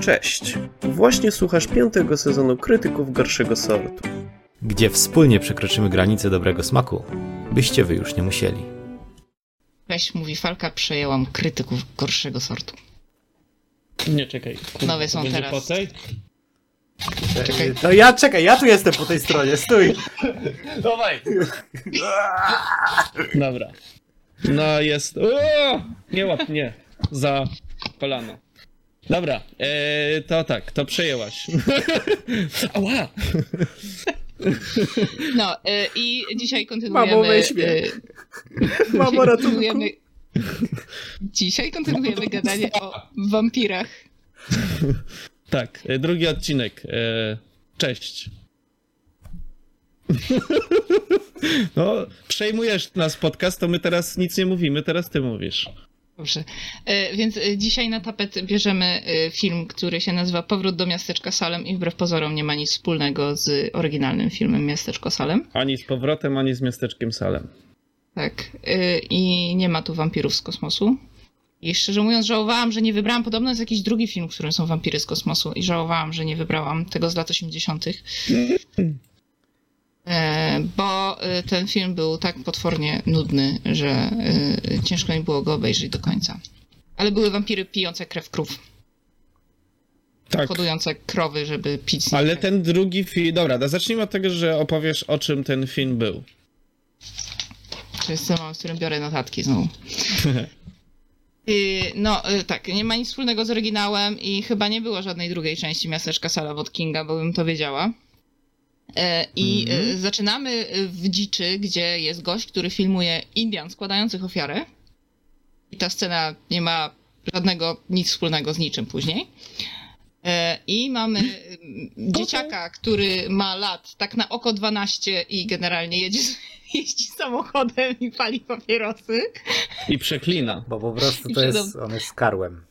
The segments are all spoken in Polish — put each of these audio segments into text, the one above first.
Cześć! Właśnie słuchasz piątego sezonu Krytyków Gorszego Sortu. gdzie wspólnie przekroczymy granice dobrego smaku, byście wy już nie musieli. Weź mówi Falka, przejęłam krytyków gorszego sortu. Nie, czekaj. Kurwa, Nowe są to będzie teraz. Po tej? Czekaj. No ja czekaj, ja tu jestem po tej stronie, stój. Dawaj! Dobra. No jest... Uuu! Nie łap mnie za kolano. Dobra, e, to tak, to przejęłaś. Ała! No y, i dzisiaj kontynuujemy... Mamo, weź mnie. y, Mamo ratunku. dzisiaj kontynuujemy, dzisiaj kontynuujemy gadanie o wampirach. Tak, e, drugi odcinek. E, cześć. No, przejmujesz nas podcast, to my teraz nic nie mówimy, teraz ty mówisz. Dobrze. Y, Więc y, dzisiaj na tapet bierzemy y, film, który się nazywa Powrót do miasteczka Salem i wbrew pozorom nie ma nic wspólnego z oryginalnym filmem Miasteczko Salem. Ani z powrotem, ani z miasteczkiem Salem. Tak. Y, I nie ma tu wampirów z kosmosu. I szczerze mówiąc, żałowałam, że nie wybrałam. Podobno jest jakiś drugi film, w którym są wampiry z kosmosu, i żałowałam, że nie wybrałam tego z lat 80. E, Bo y, ten film był tak potwornie nudny, że y, ciężko mi było go obejrzeć do końca. Ale były wampiry pijące krew krów, Tak. hodujące krowy, żeby pić. z nich Ale krew. ten drugi film. Dobra, to zacznijmy od tego, że opowiesz o czym ten film był. To jest ten moment, w którym biorę notatki znowu. Y, No y, tak, nie ma nic wspólnego z oryginałem i chyba nie było żadnej drugiej części Miasteczka Sala od Kinga, bo bym to wiedziała. E, I y, zaczynamy y, w dziczy, gdzie jest gość, który filmuje Indian składających ofiarę. I ta scena nie ma żadnego nic wspólnego z niczym później. E, I mamy mm, dzieciaka, który ma lat tak na oko 12 i generalnie jedzie, jeździ samochodem i pali papierosy. I przeklina. Bo po prostu to to jest- jest, on jest karłem.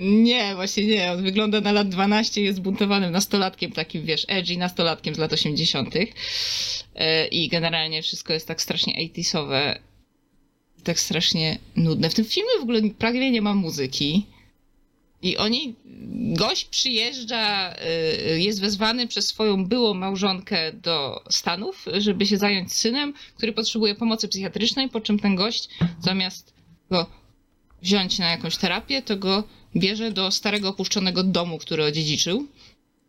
Nie, właśnie nie. On wygląda na lat 12, jest zbuntowanym nastolatkiem, takim wiesz, edgy nastolatkiem z lat 80. E, I generalnie wszystko jest tak strasznie 80sowe, tak strasznie nudne. W tym filmie w ogóle prawie nie ma muzyki. I oni, gość przyjeżdża, y, jest wezwany przez swoją byłą małżonkę do Stanów, żeby się zająć synem, który potrzebuje pomocy psychiatrycznej, po czym ten gość zamiast go wziąć na jakąś terapię, to go bierze do starego opuszczonego domu, który odziedziczył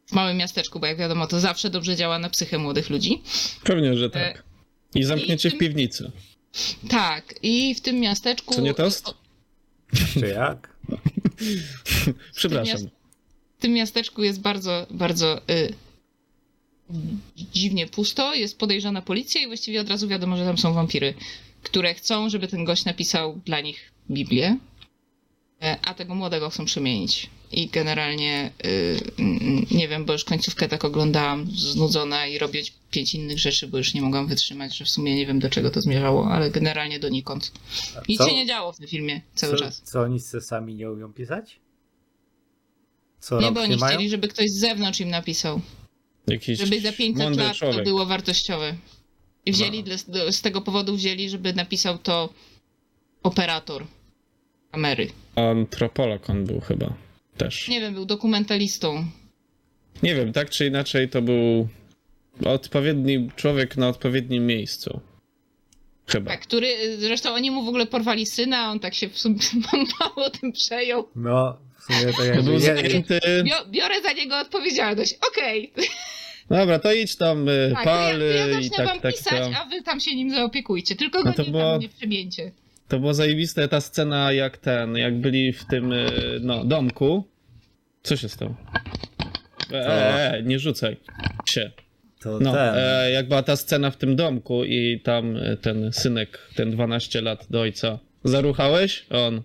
w małym miasteczku, bo jak wiadomo, to zawsze dobrze działa na psychę młodych ludzi. Pewnie, że E, tak. I zamknięcie w piwnicy. Tak, i w tym miasteczku. Co nie tost? Czy jak? Przepraszam. miast- w tym miasteczku jest bardzo, bardzo y, dziwnie pusto. Jest podejrzana policja i właściwie od razu wiadomo, że tam są wampiry, które chcą, żeby ten gość napisał dla nich Biblię, e, a tego młodego chcą przemienić. I generalnie y, mm, nie wiem, bo już końcówkę tak oglądałam znudzona i robiąc pięć innych rzeczy, bo już nie mogłam wytrzymać, że w sumie nie wiem do czego to zmierzało, ale generalnie donikąd. Nic co- się nie działo w tym filmie cały Co, czas. co oni se sami nie umią pisać? Co Nie, rok bo nie oni mają? chcieli, żeby ktoś z zewnątrz im napisał. Jakiś żeby za 500 mądry lat to człowiek. było wartościowe. I wzięli, dla- z tego powodu wzięli, żeby napisał to operator kamery. Antropolog on był chyba. Też. Nie. Nie wiem, był dokumentalistą. wiem, tak czy inaczej to był odpowiedni człowiek na odpowiednim miejscu. Chyba. Tak, który, zresztą oni mu w ogóle porwali syna, on tak się w sumie mało tym przejął. No, w sumie to To jakby był nie, zajęty. Bio, biorę za niego odpowiedzialność. Okej, Dobra, to idź tam, y, tak, pal to ja, to ja i zacznę tak, wam tak, pisać, tam. a wy tam się nim zaopiekujcie. Tylko go No to nie, było- tam nie przemięcie. To było zajebiste ta scena, jak ten, jak byli w tym y, no, domku. Co się stało? E, e, e, nie rzucaj się. to No, ten. e, jak była ta scena w tym domku i tam e, ten synek, ten 12 lat do ojca. Zaruchałeś? On.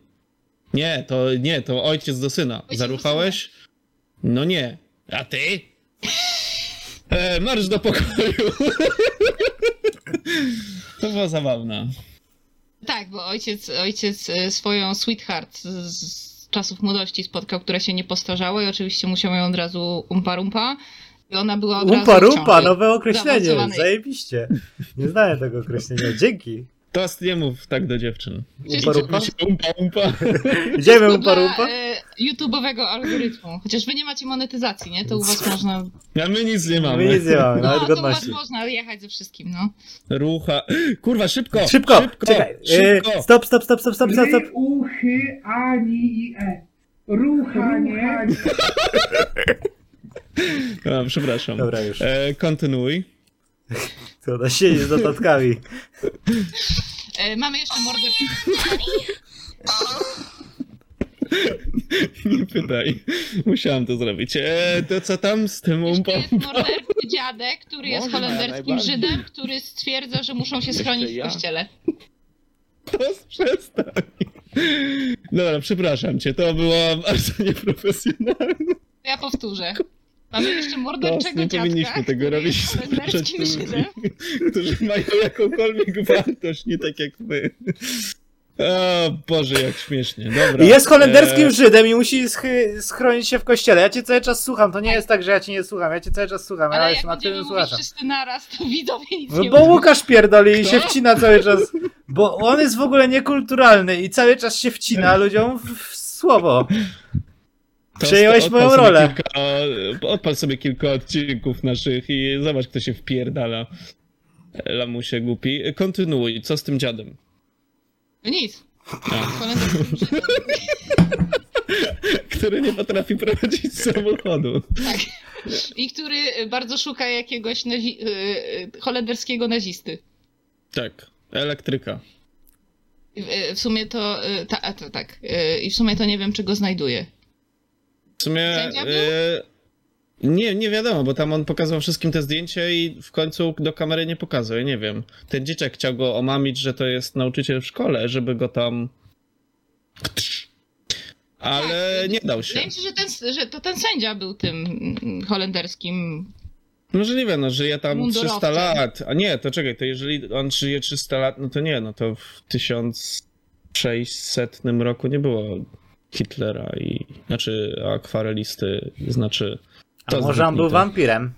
Nie, to nie, to ojciec do syna. do Zaruchałeś? No nie. A ty? E, marsz do pokoju. to było zabawne. Tak, bo ojciec, ojciec e, swoją sweetheart z, z czasów młodości spotkał, która się nie postarzała i oczywiście musiał ją od razu umpa rumpa. I ona była od Umpa razu rumpa, no, ciągle nowe określenie, zaawansowanej. zajebiście. Nie znałem tego określenia, dzięki. Toast nie mów tak do dziewczyn. Wszyscy- Umpa rumpa? Umpa, umpa. Idziemy Była, umpa rumpa? e, YouTube'owego algorytmu. Chociaż wy nie macie monetyzacji, nie? To u was można. A my nic nie mamy. My nic nie mamy, No, nawet to u was godności. można jechać ze wszystkim, no. Rucha. Kurwa, szybko! Szybko, Szybko! czekaj. e, szybko. Stop, stop, stop, stop, stop, stop, stop. Ry, uchy, ani i e. Ruchanie. A, przepraszam. Dobra, już. E, kontynuuj. Co, na siedzi z notatkami. E, mamy jeszcze morder. Nie pytaj. Musiałam to zrobić. E, to co tam z tym Jeszcze umpą? jest morderczy dziadek, który jest Można, holenderskim najbardziej. Żydem, który stwierdza, że muszą się schronić ja. w kościele. Przestań. Dobra, przepraszam cię. To było bardzo nieprofesjonalne. To ja powtórzę. Mamy jeszcze Los, morderczego nie dziadka, powinniśmy tego który robić. jest Zapraszać holenderskim Żydem. ludzi, którzy mają jakąkolwiek wartość, nie tak jak my. O Boże, jak śmiesznie. Dobra. Jest holenderskim E, Żydem i musi schy- schronić się w kościele. Ja cię cały czas słucham, to nie jest tak, że ja cię nie słucham. Ja cię cały czas słucham, ja Ale jak jestem będziemy aktywnym mówić słuchaczem. wszyscy naraz, to widzowie nic nie No bo usłyszą. Łukasz pierdoli i się wcina cały czas. Bo on jest w ogóle niekulturalny i cały czas się wcina ludziom w, w słowo. to- Przejąłeś odpal moją sobie rolę. Kilka, odpal sobie kilka odcinków naszych i zobacz, kto się wpierdala. Lamusie głupi. Kontynuuj, co z tym dziadem? Nic. Holenderskim Żydem. Który nie potrafi prowadzić samochodu. I który bardzo szuka jakiegoś nazi- y, y, holenderskiego nazisty. Tak, elektryka. Y, y, W sumie to, y, ta, a, to tak. Y, I w sumie to nie wiem, czego znajduje. W sumie. Sędzia był? e, nie, nie wiadomo, bo tam on pokazał wszystkim te zdjęcie i w końcu do kamery nie pokazał. Ja nie wiem. Ten dzieciak chciał go omamić, że to jest nauczyciel w szkole, żeby go tam. Ale Tak, Tak, nie dał się. Wydaje mi się, że, ten, że to ten sędzia był tym mm, holenderskim. Możliwe, no żyje tam Mundurowcem. 300 lat. A nie, to czekaj, to jeżeli on żyje 300 lat, no to nie, no to w 1600 roku nie było Hitlera i. Znaczy akwarelisty, znaczy. A to może on był zniknij to. wampirem?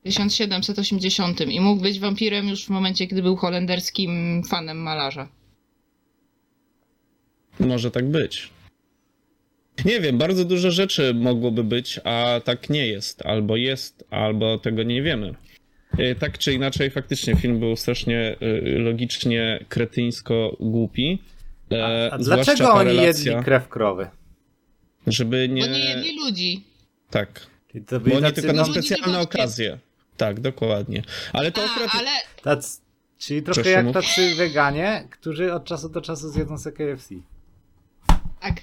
w 1780 i mógł być wampirem już w momencie, gdy był holenderskim fanem malarza. Może tak być. Nie wiem, bardzo dużo rzeczy mogłoby być, a tak nie jest. Albo jest, albo tego nie wiemy. E, Tak czy inaczej, faktycznie film był strasznie e, logicznie kretyńsko głupi. E, A zwłaszcza dlaczego ta oni relacja, jedli krew krowy? Żeby nie. Bo nie jedli ludzi. Tak. Czyli to Bo byli oni tacy, no, tylko na ludzi specjalne wychodzi- okazje. Tak, dokładnie. Ale to akurat. A, ale tacy, czyli troszkę Proszę jak mów. tacy weganie, którzy od czasu do czasu zjedzą sobie KFC. tak.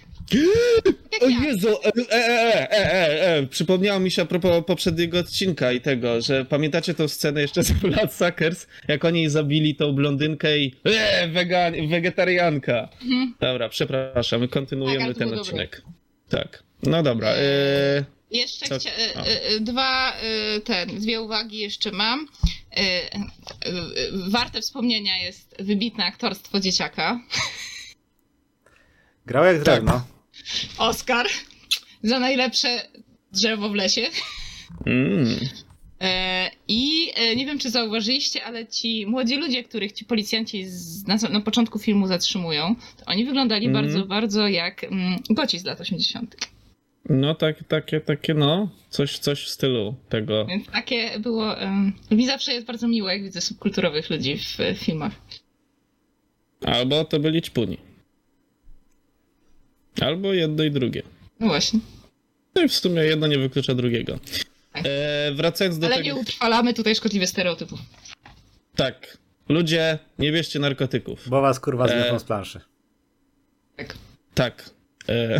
O Jak ja. Jezu, e, e, e, e, e, e. przypomniało mi się a propos poprzedniego odcinka i tego, że pamiętacie tą scenę jeszcze z Blood Suckers, jak oni zabili tą blondynkę i e, wegan, wegetarianka. Mhm. Dobra, przepraszam, Tak, kontynuujemy ale to ten było odcinek. Tak, no dobra. E, Jeszcze Co- chcia- y, a. y, y, dwa, y, ten, dwie uwagi jeszcze mam. Y, y, y, Warte wspomnienia jest wybitne aktorstwo dzieciaka. Grał Tak. jak drewno. Oscar za najlepsze drzewo w lesie. mm, E, I e, nie wiem, czy zauważyliście, ale ci młodzi ludzie, których ci policjanci z, na, na początku filmu zatrzymują, to oni wyglądali Mhm. bardzo, bardzo jak mm, goci z lat 80. no tak, takie, takie no, coś, coś w stylu tego. Więc takie było. em, mi zawsze jest bardzo miło, jak widzę subkulturowych ludzi w e, filmach. Albo to byli czpuni. Albo jedno i drugie. No właśnie. No i w sumie jedno nie wyklucza drugiego. Tak. E, wracając do ale nie tego. utrwalamy tutaj szkodliwych stereotypów. Tak. Ludzie, nie bierzcie narkotyków. Bo was kurwa zmiotą E. z planszy. Tak. Tak. E,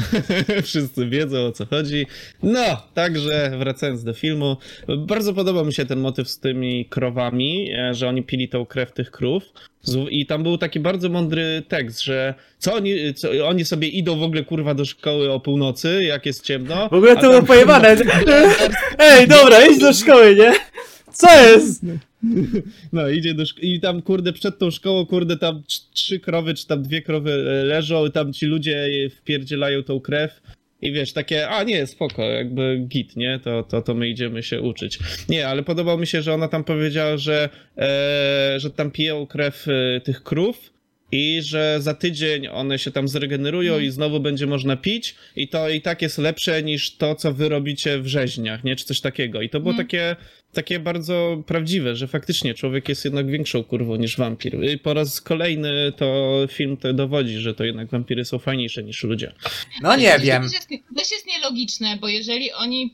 wszyscy wiedzą o co chodzi. No, także wracając do filmu. Bardzo podoba mi się ten motyw z tymi krowami, e, że oni pili tą krew tych krów. Z- I tam był taki bardzo mądry tekst, że co oni, co, oni sobie idą w ogóle kurwa do szkoły o północy, jak jest ciemno. W ogóle a to tam- było pojebane. Ej, dobra, idź do szkoły, nie? Co jest? No, idzie do szko- i tam, kurde, przed tą szkołą, kurde, tam trz- trzy krowy, czy tam dwie krowy e, leżą, i tam ci ludzie e, wpierdzielają tą krew. I wiesz, takie, a nie, spoko, jakby git, nie? To, to, to my idziemy się uczyć. Nie, ale podobało mi się, że ona tam powiedziała, że, e, że tam piją krew e, tych krów, i że za tydzień one się tam zregenerują i znowu będzie można pić i to i tak jest lepsze niż to, co wy robicie w rzeźniach, nie? Czy coś takiego. I to było Mm. takie, takie bardzo prawdziwe, że faktycznie człowiek jest jednak większą kurwą niż wampir. I po raz kolejny to film to dowodzi, że to jednak wampiry są fajniejsze niż ludzie. No nie Też- wiem. Też jest, też jest nielogiczne, bo jeżeli oni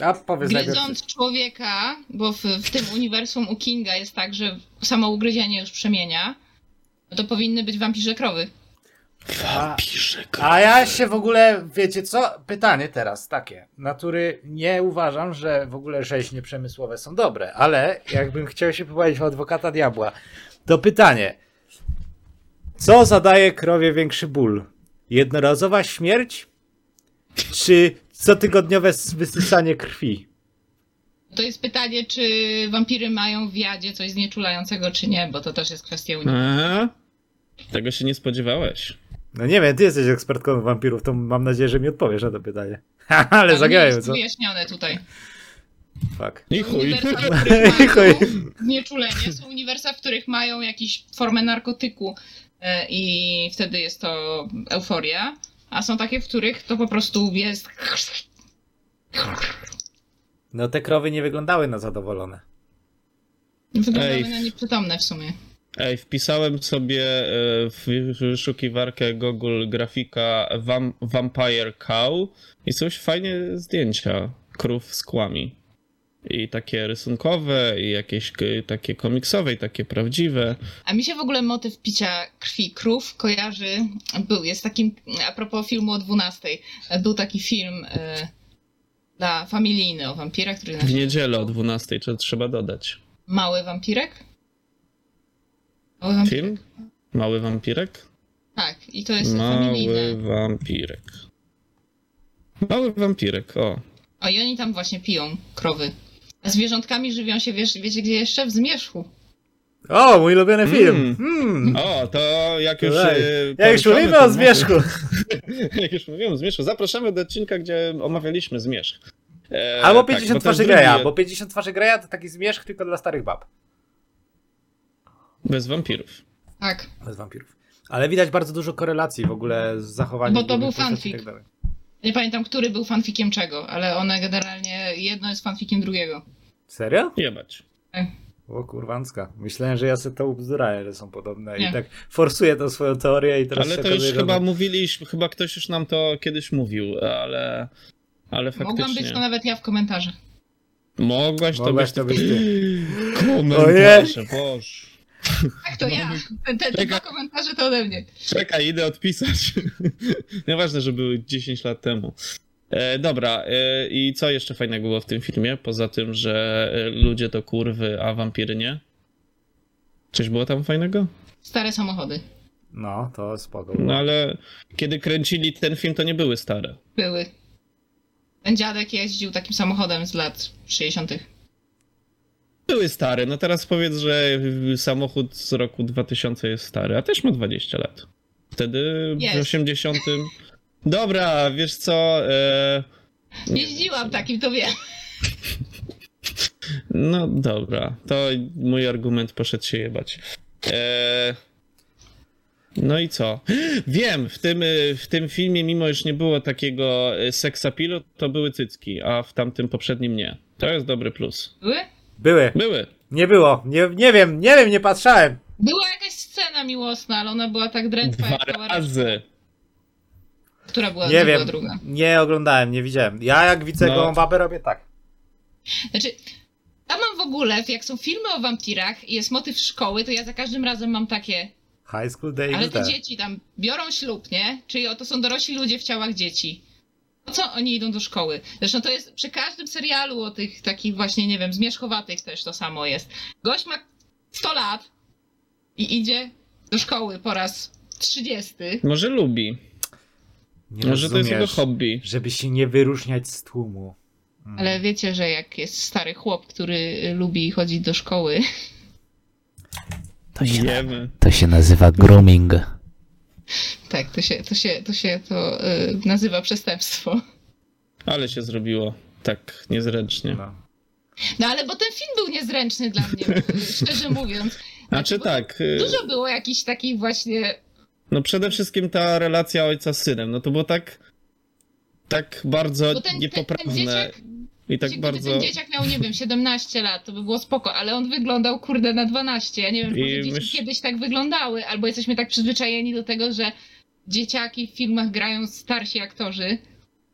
A powiedz najpierw. gryząc człowieka, bo w, w tym uniwersum u Kinga jest tak, że samo ugryzienie już przemienia, no to powinny być wampirze krowy. A, Pisze a ja się w ogóle, wiecie co? Pytanie teraz takie. Natury nie uważam, że w ogóle rzeźnie przemysłowe są dobre, ale jakbym chciał się powiedzieć o adwokata diabła, to pytanie. Co zadaje krowie większy ból? Jednorazowa śmierć? Czy cotygodniowe s- wysysanie krwi? To jest pytanie, czy wampiry mają w jadzie coś znieczulającego, czy nie, bo to też jest kwestia Hmm. uniwersum. A, tego się nie spodziewałeś. No nie wiem, ty jesteś ekspertką od wampirów, to mam nadzieję, że mi odpowiesz na to pytanie. ale zagrałem, jest co? wyjaśnione tutaj. Fuck. I chuj. Uniwersa, w których I chuj. mają znieczulenie. Są uniwersa, w których mają jakąś formę narkotyku e, i wtedy jest to euforia, a są takie, w których to po prostu jest... No te krowy nie wyglądały na zadowolone. Wyglądały Ej. na nieprzytomne w sumie. Ej, wpisałem sobie e, w wyszukiwarkę Google grafika vam, Vampire Cow i są już fajne zdjęcia krów z kłami. I takie rysunkowe, i jakieś k- takie komiksowe, i takie prawdziwe. A mi się w ogóle motyw picia krwi krów kojarzy. Był, jest takim, a propos filmu o 12, był taki film e, dla familijny o wampirach, który W nazywa się niedzielę o 12, co trzeba dodać. Mały Wampirek. Mały wampirek. Film? Mały wampirek? Tak, i to jest Mały familijne. wampirek. Mały wampirek, o. O, i oni tam właśnie piją krowy. A zwierzątkami żywią się, wiesz, wiecie gdzie jeszcze? W zmierzchu. O, mój ulubiony film. Mm. Mm. O, to jak już. Ej, e, Jak już poruszamy mówimy o tematy- zmierzchu. jak już mówiłem o zmierzchu, zapraszamy do odcinka, gdzie omawialiśmy zmierzch. E, Albo tak, 50 bo to twarzy drugi- Greja, bo 50 twarzy Greja to taki zmierzch tylko dla starych bab. Bez wampirów. Tak. Bez wampirów. Ale widać bardzo dużo korelacji w ogóle z zachowaniem. Bo to głównych był postaci fanfic. i tak dalej. Nie pamiętam, który był fanfikiem czego, ale one generalnie jedno jest fanfikiem drugiego. Serio? Jebać. O kurwanska. Myślałem, że ja sobie to ubzdurałem, że są podobne i Nie. tak forsuję tą swoją teorię i teraz Ale się to już okazuje, że chyba one- mówiliśmy, chyba ktoś już nam to kiedyś mówił, ale. Ale Mogłam być faktycznie. to nawet ja w komentarzach. Mogłaś to Mogłaś być. to być ty. Komentarze, Boże. Tak, to ja. No. Te, te, te dwa komentarze to ode mnie. Czekaj, idę odpisać. Nieważne, że były 10 lat temu. E, dobra, e, i co jeszcze fajnego było w tym filmie? Poza tym, że e, ludzie to kurwy, a wampiry nie? Coś było tam fajnego? Stare samochody No, to spoko. No ale kiedy kręcili ten film, to nie były stare. były. Ten dziadek jeździł takim samochodem z lat 60. Były stare, no teraz powiedz, że y, samochód z roku 2000 jest stary, a też ma 20 lat. Wtedy w Jest. 80. Dobra, wiesz co? E... nie Jeździłam takim, to wiem. No dobra, to mój argument poszedł się jebać. Eee... No i co? Wiem, w tym, y, w tym filmie, mimo iż nie było takiego e, seksapilu, to były cycki, a w tamtym poprzednim nie. To jest dobry plus. Były? Były. Były. Nie było. Nie, nie wiem, nie wiem, nie patrzałem. Była jakaś scena miłosna, ale ona była tak drętwa, Dwa jak była razy. Która była, Nie była wiem. druga. Nie oglądałem, nie widziałem. Ja jak widzę No. gołą babę robię tak. Znaczy, ja mam w ogóle, jak są filmy o wampirach i jest motyw szkoły, to ja za każdym razem mam takie, High school day ale te XD. dzieci tam biorą ślub, nie? Czyli oto są dorośli ludzie w ciałach dzieci. Po co oni idą do szkoły? Zresztą to jest przy każdym serialu o tych takich właśnie, nie wiem, zmierzchowatych też to samo jest. Gość ma 100 lat i idzie do szkoły po raz 30. Może lubi. Nie Może No, to jest jego rozumiesz. hobby. żeby się nie wyróżniać z tłumu. Mm. Ale wiecie, że jak jest stary chłop, który y, lubi chodzić do szkoły, To się, Wiemy. to się nazywa grooming. tak, to się to, się, to, się to y, nazywa przestępstwo. Ale się zrobiło tak niezręcznie. No. No ale bo ten film był niezręczny dla mnie, szczerze mówiąc. Znaczy tak, y, Dużo było jakichś takich właśnie no przede wszystkim ta relacja ojca z synem, no to było tak tak bardzo Bo ten, ten, ten niepoprawne dzieciak, i tak Znaczy, gdyby bardzo... ten dzieciak miał, nie wiem, 17 lat, to by było spoko, ale on wyglądał, kurde, na 12. Ja nie wiem, I może dzieci myśl- kiedyś tak wyglądały, albo jesteśmy tak przyzwyczajeni do tego, że dzieciaki w filmach grają starsi aktorzy,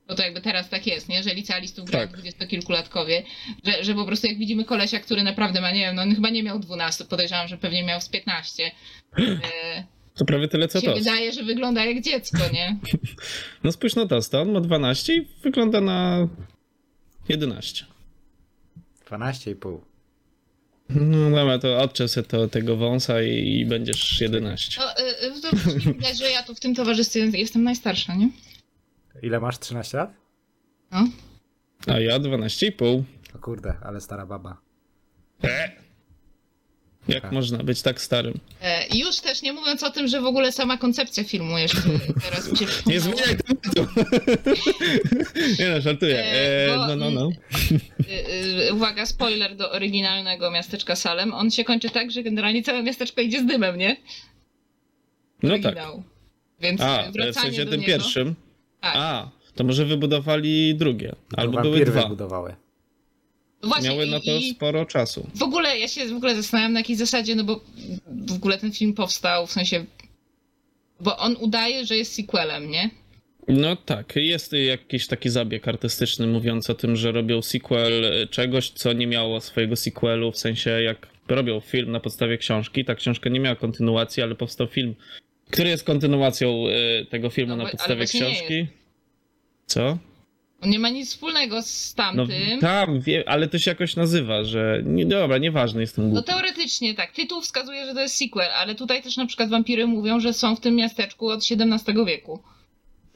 bo to jakby teraz tak jest, nie? Że licealistów grają Tak. dwudziestokilkulatkowie, że, że po prostu jak widzimy kolesia, który naprawdę ma, nie wiem, no on chyba nie miał 12, podejrzewam, że pewnie miał z 15. E, To prawie tyle co się to. wydaje, że wygląda jak dziecko, nie? No spójrz na Tosta, on ma 12 i wygląda na 11. 12,5. No dobra, to odczep sobie to, tego wąsa i, i będziesz 11. No, y, y, to właśnie widać, że ja tu w tym towarzystwie jestem najstarsza, nie? Ile masz? 13 lat? No. A ja 12,5. O kurde, ale stara baba. Jak Tak. można być tak starym? E, Już też nie mówiąc o tym, że w ogóle sama koncepcja filmu jeszcze teraz mi się Nie przypomniała. zmieniaj tematu! Nie no, żartuję. E, E, bo- no, no, no. Y, y, Uwaga, spoiler do oryginalnego miasteczka Salem. On się kończy tak, że generalnie całe miasteczko idzie z dymem, nie? No tak. Oryginał. Więc A, e, w wracanie sensie do tym niego. pierwszym? Tak. A, to może wybudowali drugie. Albo były Wampiry dwa. wybudowały. No Właśnie, Miały na to i, i sporo czasu. w ogóle ja się w ogóle zastanawiam na jakiej zasadzie, no bo w ogóle ten film powstał, w sensie... Bo on udaje, że jest sequelem, nie? No tak, jest jakiś taki zabieg artystyczny mówiący o tym, że robią sequel czegoś, co nie miało swojego sequelu, w sensie jak robią film na podstawie książki, ta książka nie miała kontynuacji, ale powstał film, który jest kontynuacją e, tego filmu No na bo- ale podstawie właśnie nie jest. książki. Co? On nie ma nic wspólnego z No tamtym. tam, wie, ale to się jakoś nazywa, że... Nie, dobra, nieważne, jestem No głupi. teoretycznie tak. Tytuł wskazuje, że to jest sequel, ale tutaj też na przykład wampiry mówią, że są w tym miasteczku od XVII wieku.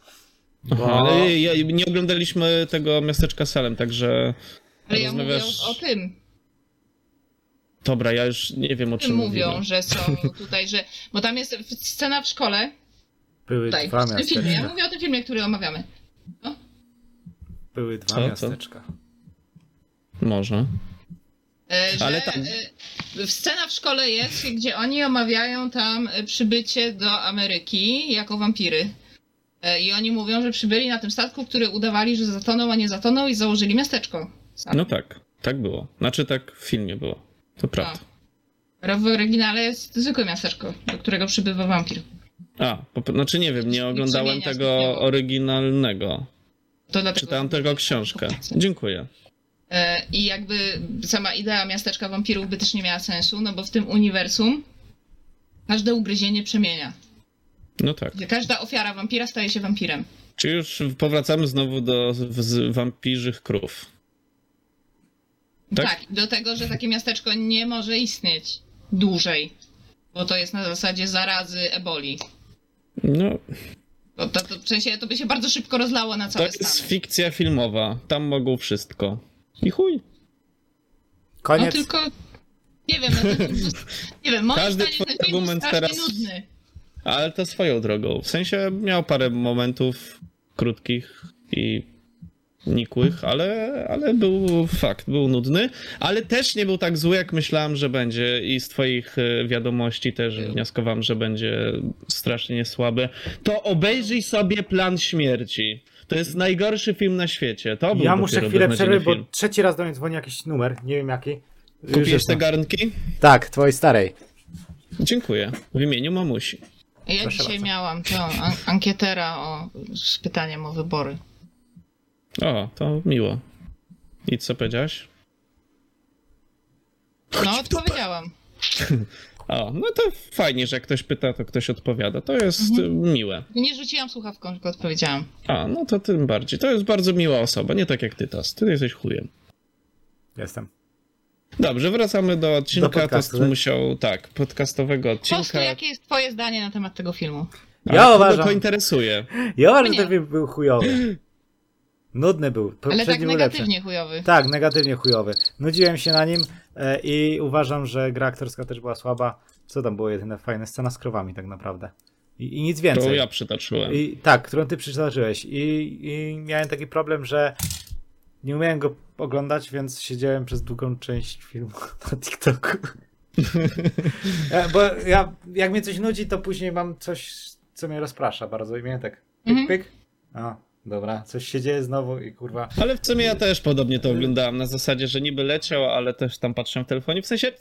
Aha, No, No. ale ja, nie oglądaliśmy tego miasteczka Salem, także... Ale ja mówię Rozmawiasz- o tym. Dobra, ja już nie wiem o O tym czym mówią, mówimy. że są tutaj, że... Bo tam jest w- scena w szkole. Były Tutaj, dwa w tym filmie. no. Ja miasteczka. mówię o tym filmie, który omawiamy. Były dwa Co, co? miasteczka. Może. E, Że, Ale tak. tam- e, Scena w szkole jest, gdzie oni omawiają tam e, przybycie do Ameryki jako wampiry. E, I oni mówią, że przybyli na tym statku, który udawali, że zatonął, a nie zatonął i założyli miasteczko. Sam. No tak, tak było. Znaczy tak w filmie było. To prawda. Tak. A. W oryginale jest zwykłe miasteczko, do którego przybywa wampir. A, po, znaczy nie wiem, nie Nic oglądałem nie zmienia, tego zniknęło. oryginalnego. To dlatego... Czytałem tylko książkę. Dziękuję. E, I jakby sama idea miasteczka wampirów by też nie miała sensu, no bo w tym uniwersum każde ugryzienie przemienia. No tak. Że Każda ofiara wampira staje się wampirem. Czy już powracamy znowu do z wampirzych krów? Tak? Tak? do tego, że takie miasteczko nie może istnieć dłużej, bo to jest na zasadzie zarazy eboli. No, Bo to, to, w sensie to by się bardzo szybko rozlało na to całe tak, jest Stany. fikcja filmowa. Tam mogą wszystko. I chuj. No Koniec. tylko... Nie wiem, no, ten film- nie wiem, moim Każdy zdaniem ten twój film był argument strasznie teraz- nudny. Ale to swoją drogą. W sensie miał parę momentów krótkich i nikłych, ale, ale był fakt, był nudny, ale też nie był tak zły, jak myślałem, że będzie i z twoich e, wiadomości też wnioskowałem, że będzie strasznie słaby. To obejrzyj sobie Plan Śmierci. To jest najgorszy film na świecie. To był Ja muszę dopiero chwilę beznadziejny przerwy, bo film. trzeci raz do mnie dzwoni jakiś numer, nie wiem jaki. Już Kupiłeś jestem. te garnki? Tak, twojej starej. Dziękuję. W imieniu mamusi. Ja Proszę dzisiaj bardzo. miałam to an- ankietera o, z pytaniem o wybory. O, to miło. I co powiedziałaś? No, odpowiedziałam. O, no to fajnie, że jak ktoś pyta, to ktoś odpowiada. To jest y, miłe. Nie rzuciłam słuchawką, tylko odpowiedziałam. A, no to tym bardziej. To jest bardzo miła osoba, nie tak jak ty, Tas. Ty jesteś chujem. Jestem. Dobrze, wracamy do odcinka. podcastu, Tost tak? musiał, tak, podcastowego Po prostu, odcinka. jakie jest twoje zdanie na temat tego filmu? Ale Ja kogo uważam- to interesuje. Ja uważam, że No ten Nie. film był chujowy. Nudny był. Ale Poprzedni tak był negatywnie lepszy. chujowy. Tak, negatywnie chujowy. Nudziłem się na nim e, i uważam, że gra aktorska też była słaba. Co tam było jedyne fajne? Scena z krowami tak naprawdę. I, i nic To więcej. ja przytoczyłem. I, tak, którą ty przytoczyłeś. I, I miałem taki problem, że nie umiałem go oglądać, więc siedziałem przez długą część filmu na TikToku. Ja, bo ja, jak mnie coś nudzi, to później mam coś, co mnie rozprasza bardzo i mnie tak pyk, Mhm. pyk. A, dobra, coś się dzieje znowu i kurwa. Ale w sumie ja też podobnie to oglądałem, na zasadzie, że niby leciał, ale też tam patrzyłem w telefonie, w sensie...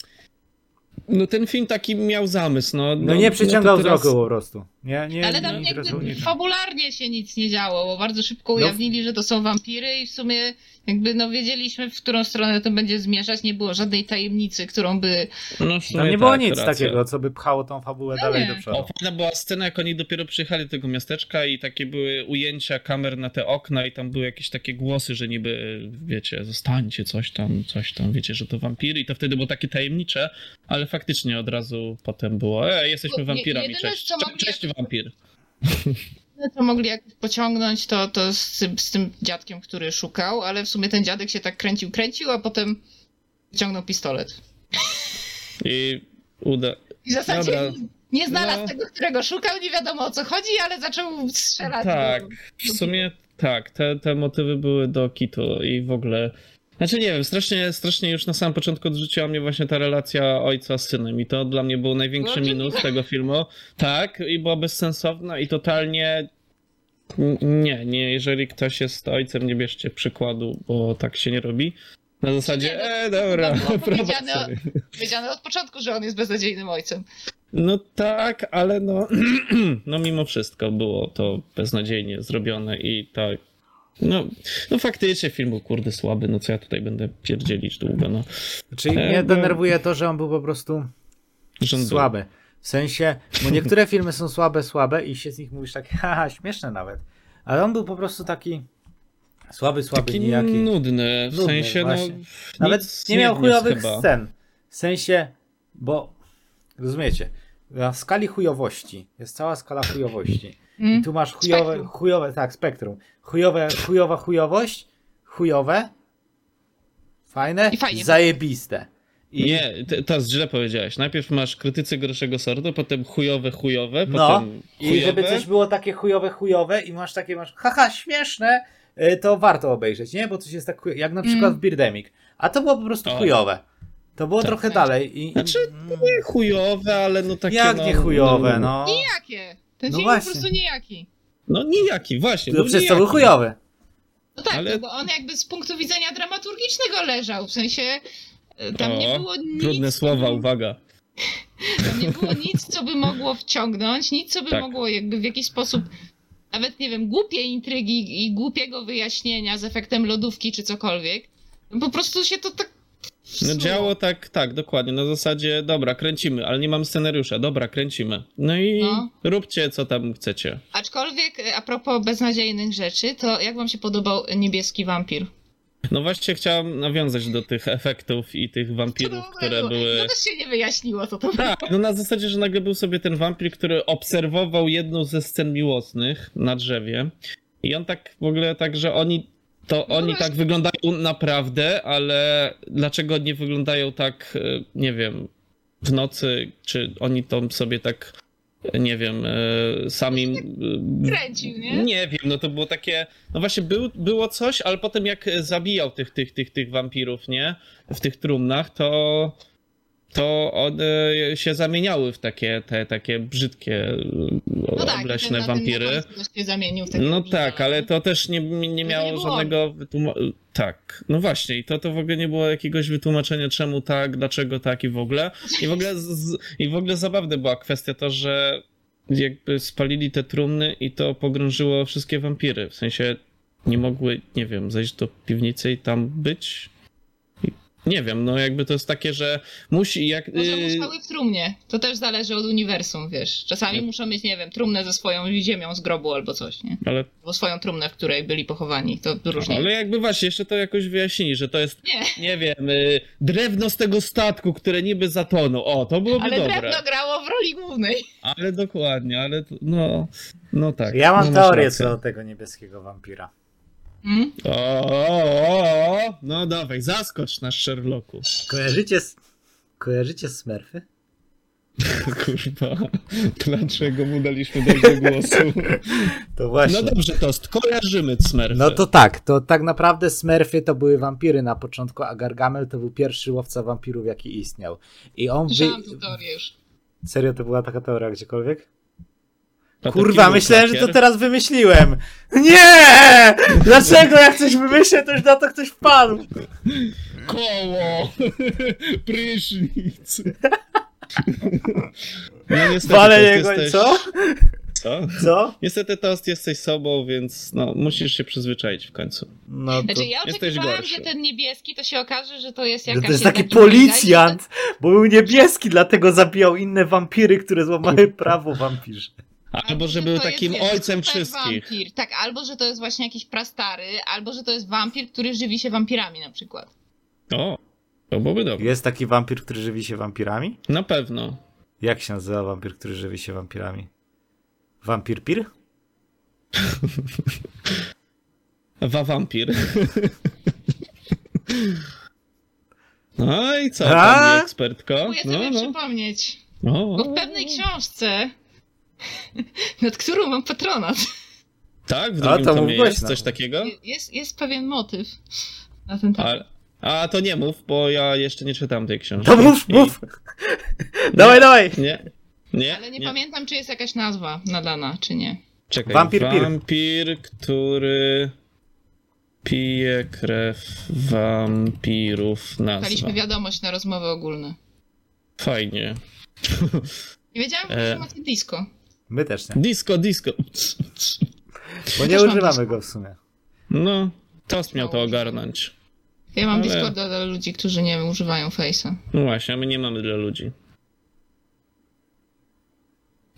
No ten film taki miał zamysł, no... No nie to przyciągał teraz- wzroku po prostu. Nie, nie, Ale tam nie jakby rozumiem. No. fabularnie się nic nie działo, bo bardzo szybko ujawnili, że to są wampiry i w sumie jakby no wiedzieliśmy, w którą stronę to będzie zmierzać, nie było żadnej tajemnicy, którą by... No w sumie Tam nie było tak, nic racja. takiego, co by pchało tą fabułę dalej No nie. do przodu. O, fajna była scena, jak oni dopiero przyjechali do tego miasteczka i takie były ujęcia kamer na te okna i tam były jakieś takie głosy, że niby, wiecie, zostańcie, coś tam, coś tam, wiecie, że to wampiry i to wtedy było takie tajemnicze, ale faktycznie od razu potem było, e, jesteśmy Bo je- wampirami, jedyne, cześć, co Cze- mogli- cześć wampir. Jedyne, co no, mogli jakoś pociągnąć, to, to z, tym, z tym dziadkiem, który szukał, ale w sumie ten dziadek się tak kręcił, kręcił, a potem wyciągnął pistolet. I uda... I w zasadzie Dobra. nie znalazł No. tego, którego szukał, nie wiadomo o co chodzi, ale zaczął strzelać. Tak, w sumie tak, te, te motywy były do kitu i w ogóle... Znaczy nie wiem, strasznie, strasznie już na samym początku odrzuciła mnie właśnie ta relacja ojca z synem i to dla mnie był największy No, minus tego filmu. Tak, i była bezsensowna i totalnie... n- Nie, nie, jeżeli ktoś jest ojcem, nie bierzcie przykładu, bo tak się nie robi. Na Nie, zasadzie, no, e, to dobra, było prowadź powiedziane- sobie. Wiedziano od początku, że on jest beznadziejnym ojcem. No tak, ale no, no mimo wszystko było to beznadziejnie zrobione i tak. No, no faktycznie film był kurde słaby, no co ja tutaj będę pierdzielić długo, no. Czyli E, mnie bo- denerwuje to, że on był po prostu Rząd był. słaby. W sensie, bo niektóre filmy są słabe, słabe i się z nich mówisz tak, haha, śmieszne nawet. Ale on był po prostu taki słaby, słaby, Taki nijaki. nudny, w Nudny, sensie właśnie. no... nic Nawet nie miał wniósł chujowych chyba. scen. W sensie, bo rozumiecie, na skali chujowości jest cała skala chujowości. I Mm. tu masz chujowe, Spektrum. chujowe, tak, spektrum. Chujowe, chujowa chujowość, chujowe, fajne, I fajnie. zajebiste. I Nie, te- teraz źle powiedziałeś. Najpierw masz krytycy gorszego sortu, potem chujowe, chujowe, No, potem chujowe. I żeby coś było takie chujowe, chujowe i masz takie, masz haha, śmieszne, y, to warto obejrzeć, nie? Bo coś jest tak chuj... jak na Mm. przykład Birdemic. A to było po prostu O. chujowe. To było Tak. trochę dalej i... Znaczy, Mm. Nie chujowe, ale no takie Jak no, nie chujowe, no. Nijakie! Ten No film właśnie. po prostu nijaki. No nijaki, właśnie. To był przez to był nijaki. chujowy. No tak, Ale- no bo on jakby z punktu widzenia dramaturgicznego leżał, w sensie e, tam O, nie było nic, Trudne słowa, uwaga. tam nie było nic, co by mogło wciągnąć, nic, co by Tak. mogło jakby w jakiś sposób nawet, nie wiem, głupiej intrygi i głupiego wyjaśnienia z efektem lodówki czy cokolwiek. No Po prostu się to tak No wsuło. działo tak, tak, dokładnie. Na zasadzie, dobra, kręcimy, ale nie mam scenariusza, dobra, kręcimy. No i No. róbcie, co tam chcecie. Aczkolwiek e, a propos beznadziejnych rzeczy, to jak wam się podobał niebieski wampir? No właśnie chciałem nawiązać do tych efektów i tych wampirów, To które było- No były... To też się nie wyjaśniło, co to było. Tak, no na zasadzie, że nagle był sobie ten wampir, który obserwował jedną ze scen miłosnych na drzewie i on tak w ogóle tak, że oni... To No oni właśnie. tak wyglądają naprawdę, ale dlaczego nie wyglądają tak, e, nie wiem, w nocy, czy oni tam sobie tak, e, nie wiem, e, sami... e, Kręcił, nie? Nie wiem, no to było takie. No właśnie, był, było coś, ale potem jak e, zabijał tych, tych, tych, tych wampirów, nie? W tych trumnach, to. To one się zamieniały w takie, te, takie brzydkie, e, No tak, obleśne ten na- wampiry. Ten na końcu się zamienił w takiego No wilka. tak, ale to też nie, nie to miało nie było. żadnego wytłumaczenia. Tak, no właśnie, i to, to w ogóle nie było jakiegoś wytłumaczenia, czemu tak, dlaczego tak i w ogóle. I w ogóle, z, i w ogóle zabawna była kwestia to, że jakby spalili te trumny i to pogrążyło wszystkie wampiry. W sensie nie mogły, nie wiem, zejść do piwnicy i tam być. I- Nie wiem, no jakby to jest takie, że musi jak. Może y, musiały w trumnie. To też zależy od uniwersum, wiesz. Czasami Nie. muszą mieć, nie wiem, trumnę ze swoją ziemią z grobu albo coś, nie? Ale, Albo swoją trumnę, w której byli pochowani. To różnie. ale jakby właśnie, jeszcze to jakoś wyjaśnili, że to jest Nie, nie wiem, y, drewno z tego statku, które niby zatonął. O, to byłoby ale dobre. drewno grało w roli głównej. Ale dokładnie, ale to, no, no tak. Ja mam no masz teorię rację. co do tego niebieskiego wampira. Hmm? Mm? O, o, o, o, no dawaj, zaskocz nas Sherlocku. Kojarzycie, s- kojarzycie Smurfy? Kurwa, dlaczego mu daliśmy dobrze głosu? To właśnie. No dobrze, Tost, kojarzymy Smurfy. No to tak, to tak naprawdę smerfy to były wampiry na początku, a Gargamel to był pierwszy łowca wampirów, jaki istniał. I on wy... Słyszałam tę teorię już. Serio to była taka teoria gdziekolwiek? A to Kurwa, kim myślałem, był że to Joker? teraz wymyśliłem. Nie! Dlaczego jak coś wymyślę, to już na to ktoś wpadł. Koło! Prysznic! No niestety, Wale Tost, jego i jesteś... co? co? Co? Niestety, Tost, jesteś sobą, więc no, musisz się przyzwyczaić w końcu. No to... Znaczy ja Jesteś oczekiwałam, gorszy. że ten niebieski to się okaże, że to jest No jakaś... to jest jednak taki inna gra i policjant, bo był niebieski, dlatego zabijał inne wampiry, które złamały prawo wampirze. Albo że że No był to jest, takim wiesz, ojcem super wszystkich. Wampir. Tak, albo że to jest właśnie jakiś prastary, albo że to jest wampir, który żywi się wampirami na przykład. No, O, to byłoby dobre. Jest taki wampir, który żywi się wampirami? Na pewno. Jak się nazywa wampir, który żywi się wampirami? Wampir pir? Wa wampir. No i co, A? pani ekspertko? Próbuję No, sobie no. przypomnieć, bo O, w pewnej książce, nad którą mam patronat, tak, w A, drugim to tomie mówiłeś no. jest nam. coś takiego? jest, jest pewien motyw na ten temat. A, a to nie mów, bo ja jeszcze nie czytam tej książki. To No mów, I- mów! Dawaj, dawaj! Nie. Nie, Ale nie, pamiętam, czy jest jakaś nazwa nadana, czy nie. Czekaj, Wampir wampir, pir. który pije krew wampirów nazwa. Daliśmy wiadomość na rozmowy ogólne. Fajnie. Nie wiedziałam, E. że e... macie disco. My też nie, Disco, disco. bo też nie mam używamy disco. go w sumie. No, Tost miał to ogarnąć. Ja mam Ale- Discorda dla ludzi, którzy nie używają Face'a. No właśnie, a my nie mamy dla ludzi.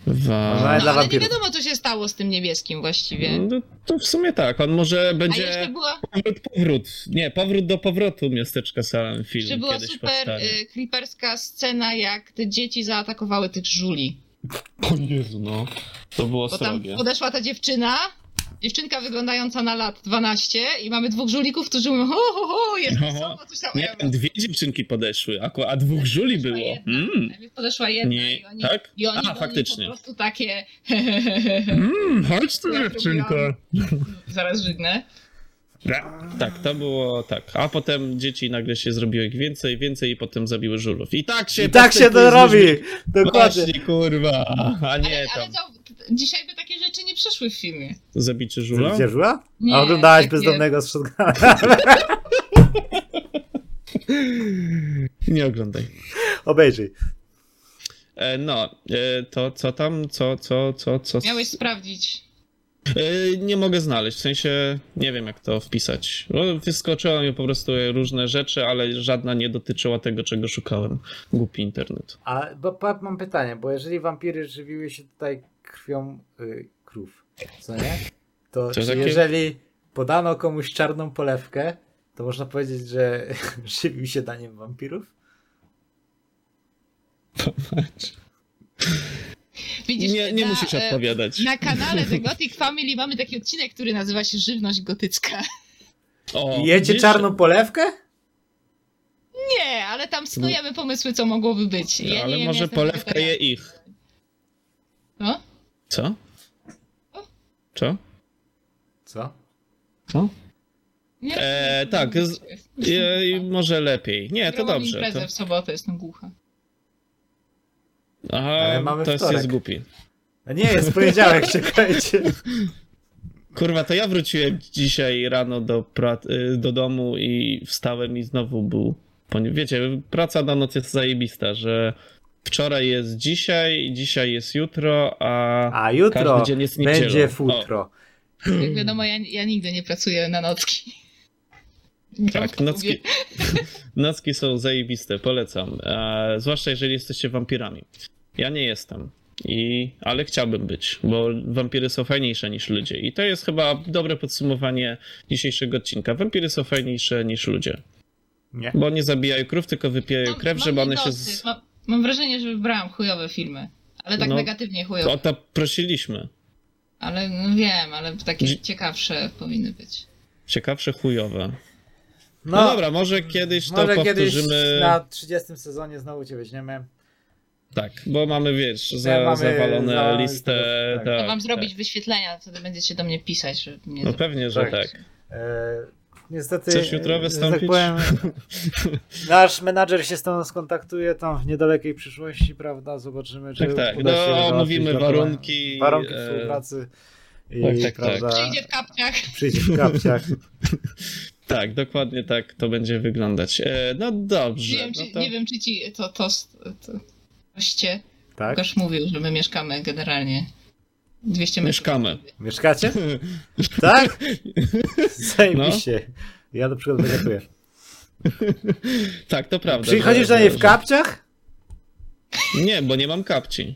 Można Wa... dla No, ale nie wampirów. wiadomo, co się stało z tym niebieskim właściwie. No, to w sumie tak, on może A jeszcze będzie była, powrót, powrót. Nie, powrót do powrotu miasteczka Salem film jeszcze była kiedyś super powstanie. y, creeperska scena, jak te dzieci zaatakowały tych żuli. O Jezu, no. To było Bo tam srogie. podeszła ta dziewczyna, dziewczynka wyglądająca na lat 12 i mamy dwóch żulików, którzy mówią ho, ho, ho, jest No. wesoło, coś tam. Nie, dwie dziewczynki podeszły, a, a dwóch żuli Podeszła było. jedna. Mm. Najpierw podeszła jedna Nie, i oni, tak? i oni A, byli faktycznie. po prostu takie Mm, chodź tu, Ja dziewczynko. robiłam. zaraz żygnę. Tak, to było tak. A potem dzieci nagle się zrobiło ich więcej, więcej i potem zabiły żulów. I tak się I tak się to postępuje z ludźmi. robi! Dokładnie. Właśnie, kurwa. A nie Ale, ale tam. to, dzisiaj by takie rzeczy nie przeszły w filmie. Zabicie żula? Widzisz, Żula? Nie, A oglądałaś takie- bezdomnego z shotguna. Nie oglądaj. Obejrzyj. E, no, e, to co tam, co, co, co, co. Miałeś sprawdzić. E, nie mogę znaleźć, w sensie nie wiem jak to wpisać. No, Wyskoczyło mi po prostu różne rzeczy, ale żadna nie dotyczyła tego, czego szukałem. Głupi internet. A bo, pa- mam pytanie, bo jeżeli wampiry żywiły się tutaj krwią y, krów, co nie? To Co czy takie- jeżeli podano komuś czarną polewkę, to można powiedzieć, że żywił się daniem wampirów? Widzisz, Nie, nie na, musisz e, odpowiadać. Na kanale The Gothic Family mamy taki odcinek, który nazywa się Żywność Gotycka. O, I jecie widzisz? czarną polewkę? Nie, ale tam snujemy pomysły, co mogłoby być. Ja nie ale wiem, ja może jestem polewka je wegetarianem. ich. No? Co? Co? Co? Nie E, rozumiem, tak, z- E, i może lepiej. Nie, to Grałam dobrze. imprezę To... w sobotę, jestem głucha. Aha, Ale mamy to jest, wtorek. jest głupi. A No nie, jest poniedziałek, czekajcie. Kurwa, to ja wróciłem dzisiaj rano do, pra- y, do domu i wstałem i znowu był. poni- Wiecie, praca na noc jest zajebista, że wczoraj jest dzisiaj, dzisiaj jest jutro, a. A jutro Każdy dzień jest niedzielą. będzie O, futro. Jak wiadomo, ja, ja nigdy nie pracuję na nocki. tak, nocki, nocki są zajebiste, polecam. E, zwłaszcza jeżeli jesteście wampirami. Ja nie jestem. I, ale chciałbym być, bo wampiry są fajniejsze niż ludzie. I to jest chyba dobre podsumowanie dzisiejszego odcinka. Wampiry są fajniejsze niż ludzie. Nie. Bo nie zabijają krów, tylko wypijają Mam- krew, mam żeby one się. niedosyt. Z... Mam, mam wrażenie, że wybrałam chujowe filmy. Ale tak No. negatywnie chujowe. O to prosiliśmy. Ale no wiem, ale takie Dzi- ciekawsze powinny być. Ciekawsze chujowe. No, No, dobra, może kiedyś to może powtórzymy. kiedyś na 30 sezonie znowu cię weźmiemy. Tak, bo mamy, wiesz, za, mamy zawalone za- listę. tak. Tak, Ja mam tak. zrobić wyświetlenia, wtedy będziecie do mnie pisać, żeby mnie No to- pewnie, że Tak. tak. E, niestety. Chcesz jutro e, że wystąpić? nasz menadżer się z tą skontaktuje tam w niedalekiej przyszłości, prawda? Zobaczymy, czy Tak, tak. uda się No, załatwić omówimy dokumenta- warunki, Warunki e, współpracy. I, tak, tak, prawda, Przyjdzie w kapciach. Przyjdzie w kapciach. Tak, dokładnie tak to będzie wyglądać. E, no dobrze. Nie wiem, czy, no to... nie wiem, czy ci to, to, to goście Tak? Łukasz mówił, że my mieszkamy generalnie 200 metrów. Mieszkamy. Mieszkacie? Tak? No. Zajebiście. Ja na przykład wygatuję. Tak, to prawda. Przychodzisz że- do niej że- w kapciach? Nie, bo nie mam kapci.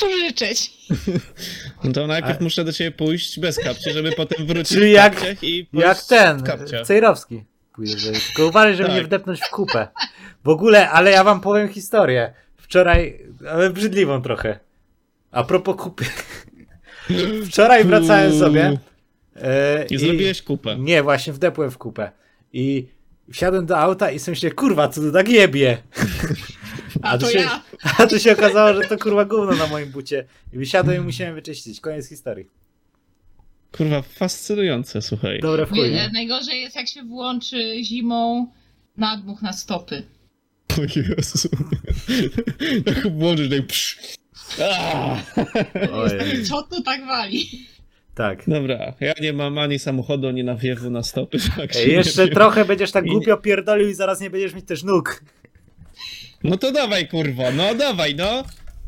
Pożyczeć. No to najpierw A- muszę do ciebie pójść bez kapci, żeby potem wrócić Czyli w jak- kapciach i pójść Jak ten, w kapciach. Cejrowski. Pójdę do niej. Tylko uważaj, żeby Tak. nie wdepnąć w kupę. W ogóle, ale ja wam powiem historię. Wczoraj, ale brzydliwą trochę. A propos kupy. Wczoraj wracałem sobie. e, I zrobiłeś kupę. Nie, właśnie wdepłem w kupę. I wsiadłem do auta i sobie myślę, kurwa, co tu tak jebie. A, A to tu się, ja. A tu się okazało, że to kurwa gówno na moim bucie. I wysiadłem i musiałem wyczyścić. Koniec historii. Kurwa, fascynujące, słuchaj. Dobre w chuj. Nie, Najgorzej jest, jak się włączy zimą nadmuch na stopy. O Jezu. Jak włączysz, tak psz. Aaa! Ojej. Co to tak wali? Tak. Dobra, ja nie mam ani samochodu, ani nawiewu na stopy. Tak się Ej, jeszcze nie wiem. trochę będziesz tak I- głupio pierdolił i zaraz nie będziesz mieć też nóg. No to dawaj, kurwa, no dawaj, no.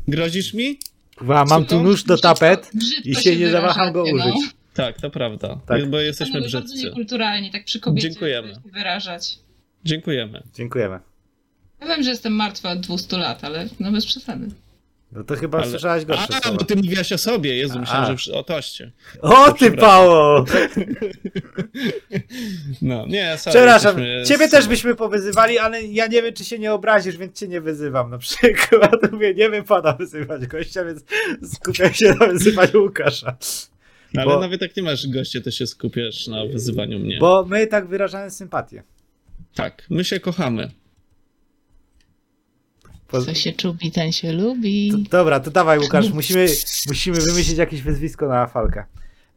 Grozisz mi? Kurwa, mam tu to? nóż do Brzydko- tapet brzydko i się nie wyrażacie, zawaham go no. użyć. Tak, to prawda. Tak. Bo jesteśmy Panowie, bardzo brzydcy. niekulturalnie, tak przy kobiecie Dziękujemy. się wyrażać. Dziękujemy. Dziękujemy. Ja wiem, że jestem martwa od 200 lat, ale no bez przesady. No to chyba Ale- słyszałaś gorsze A, no słowa. bo ty mówiłaś o sobie, Jezu, myślałem, A. że przy- o toście. O ty Przepraszam. pało! No, nie, sorry. Przepraszam, jesteśmy ciebie z- też byśmy powyzywali, ale ja nie wiem, czy się nie obrazisz, więc cię nie wyzywam. Na przykład mówię, nie wypada wyzywać gościa, więc skupiam się na wyzywaniu Łukasza. Ale bo- nawet jak nie masz goście, to się skupiasz na wyzywaniu mnie. Bo my tak wyrażamy sympatię. Tak, my się kochamy. Po... Co się czubi, ten się lubi. To, dobra, to dawaj Łukasz, musimy, musimy wymyślić jakieś wyzwisko na falkę.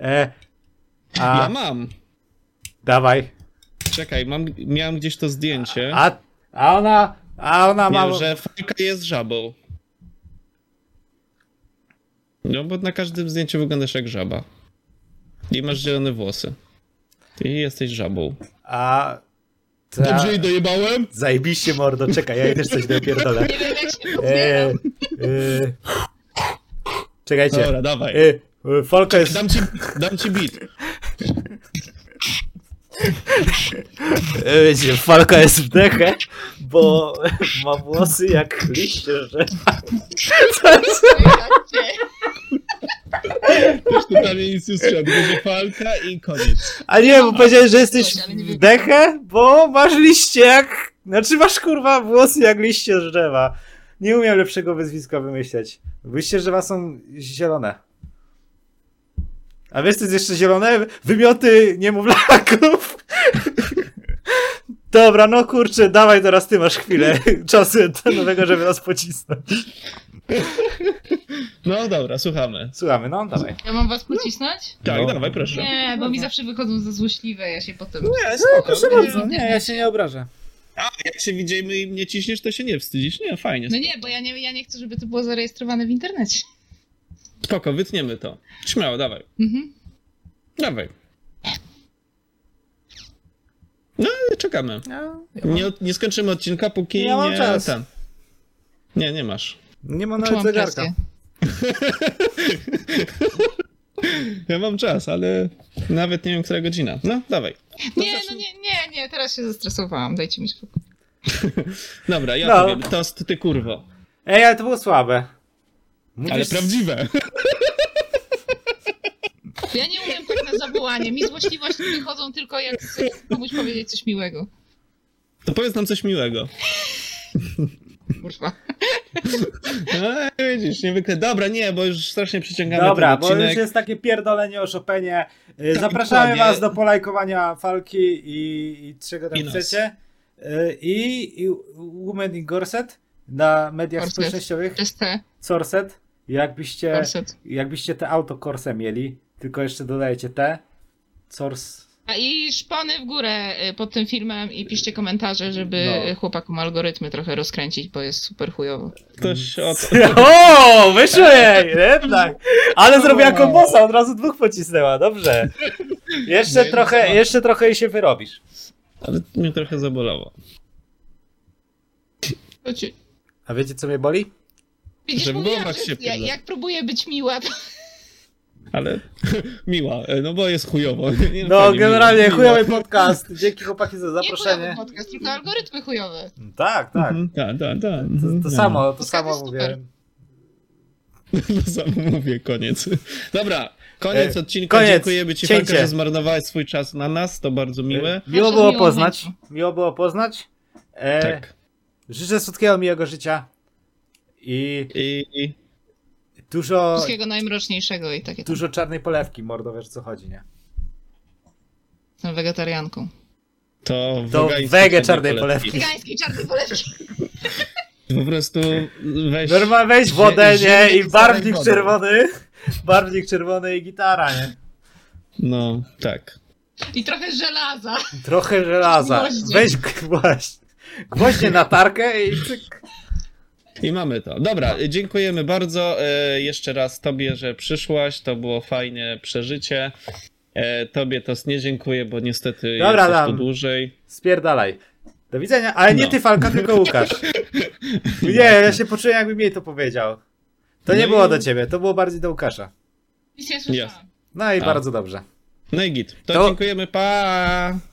E, a, Ja mam. dawaj. Czekaj, mam, miałem gdzieś to zdjęcie. A, a ona, a ona ma... Wiem, że Falka jest żabą. No bo na każdym zdjęciu wyglądasz jak żaba. I masz zielone włosy. I jesteś żabą. A, ta, i dojebałem? zajebiście mordo, czekaj, ja jej też coś dopierdolę. Nie wiem, jak się E, pozbieram. e, czekajcie. Dobra, dawaj. E, e, falka jest... Dam ci, dam ci beat. E, wiecie, falka jest w dechę, bo ma włosy jak liście drzewa. To jest... Też tu prawie nic nie strzelił. Będzie falka i koniec. A nie, bo powiedziałeś, że jesteś Coś, No, ale nie w wiem. dechę, bo masz liście jak... Znaczy masz kurwa włosy jak liście z drzewa. Nie umiem lepszego wyzwiska wymyśleć. Liście z drzewa są zielone. A wiesz co jest jeszcze zielone? Wymioty niemowlaków. Dobra, no kurczę, dawaj teraz ty masz chwilę czasu nowego, żeby nas pocisnąć. No dobra, słuchamy. Słuchamy, no dawaj. Ja mam was pocisnąć? Tak, No. dawaj, proszę. Nie, bo mi zawsze wychodzą za złośliwe, ja się potem... Nie, spoko. bardzo, nie, ja się nie obrażę. Jak się widzimy i mnie ciśniesz, to się nie wstydzisz. Nie, fajnie. No nie, bo ja nie, ja nie chcę, żeby to było zarejestrowane w internecie. Spoko, wytniemy to. Śmiało, dawaj. Mhm. Dawaj. No, ale czekamy. Nie, od- nie skończymy odcinka, póki No. Ja mam nie... czas. Ten. Nie, nie masz. Nie ma nawet Czułam No zegarka. presję. Ja mam czas, ale nawet nie wiem, która godzina. No, dawaj. Nie, no nie, nie, nie, teraz się zestresowałam, dajcie mi spokój. Dobra, ja No. powiem. Tost, ty kurwo. Ej, ale to było słabe. Ale Mówisz- prawdziwe. Ja nie umiem tak na zawołanie, mi złośliwości wychodzą tylko jak chcę komuś powiedzieć coś miłego. To powiedz nam coś miłego. Kurwa. No, widzisz, niewykle. Dobra, nie, bo już strasznie przyciągamy Dobra, ten bo odcinek. już jest takie pierdolenie o Chopinie. Y, Tak, Zapraszamy dokładnie. was do polajkowania falki i, i czego tam I nas. chcecie. Y, I, i Woman in Gorset. na mediach Corset. społecznościowych? Przez te Corset? Jakbyście, korset. jakbyście te auto Corse mieli, tylko jeszcze dodajecie te. Cors. A i szpony w górę y, pod tym filmem i piszcie komentarze, żeby No. no. chłopakom algorytmy trochę rozkręcić, bo jest super chujowo. Ktoś od... O, wyszło jej, jednak. Ale zrobiła kombosa, od razu dwóch pocisnęła, dobrze. Jeszcze Nie, trochę, no. jeszcze trochę i się wyrobisz. Ale mnie trochę zabolało. To ci- A wiecie co mnie boli? Widzisz, Żeby mówiłam, głowa że się ja, pierze- jak próbuję być miła, to Ale miła, e, no bo jest chujowo. Nie, No, fajnie, generalnie miła, chujowy podcast. Dzięki chłopaki za nie chujowy zaproszenie. podcast, tylko algorytmy chujowe. Tak, tak. Mhm, Tak, tak, tak. To, Mhm, to tak. samo, to Podcast samo jest super. mówię. No, To samo mówię, koniec. Dobra, koniec E, odcinka. koniec. Dziękujemy ci, Cięcie. Fanka, że zmarnowałeś swój czas na nas, to bardzo miłe. Miło było Bardzo Znaczy, miło poznać. było. Miło było poznać. E, Tak. Życzę słodkiego, miłego życia. I I, i dużo, Wszystkiego najmroczniejszego i takie tam. dużo czarnej polewki, mordo, wiesz o co chodzi, nie? Jestem wegetarianką. to To wegańskie wege czarnej polewki. polewki. Wegańskiej czarnej polewki. Po prostu weź. Normal, weź wodę, Zie- nie? ziemię I z barwnik wodą. czerwony. Barwnik czerwony i gitara, nie? No, tak. I trochę żelaza. Trochę żelaza. Gwoździe. Weź gwoźdź. Gwoździe na tarkę i cyk. I mamy to. Dobra, dziękujemy bardzo. E, jeszcze raz Tobie, że przyszłaś. To było fajne przeżycie. E, tobie to nie dziękuję, bo niestety Dobra, jesteś dam. tu dłużej. Spierdalaj. Do widzenia. Ale nie No. ty, Falka, tylko Łukasz. Nie, ja się poczułem, jakbym jej to powiedział. To No nie i- było do ciebie, to było bardziej do Łukasza. Nic nie słyszałam. No i A. bardzo dobrze. No i git. To, To- dziękujemy. Pa!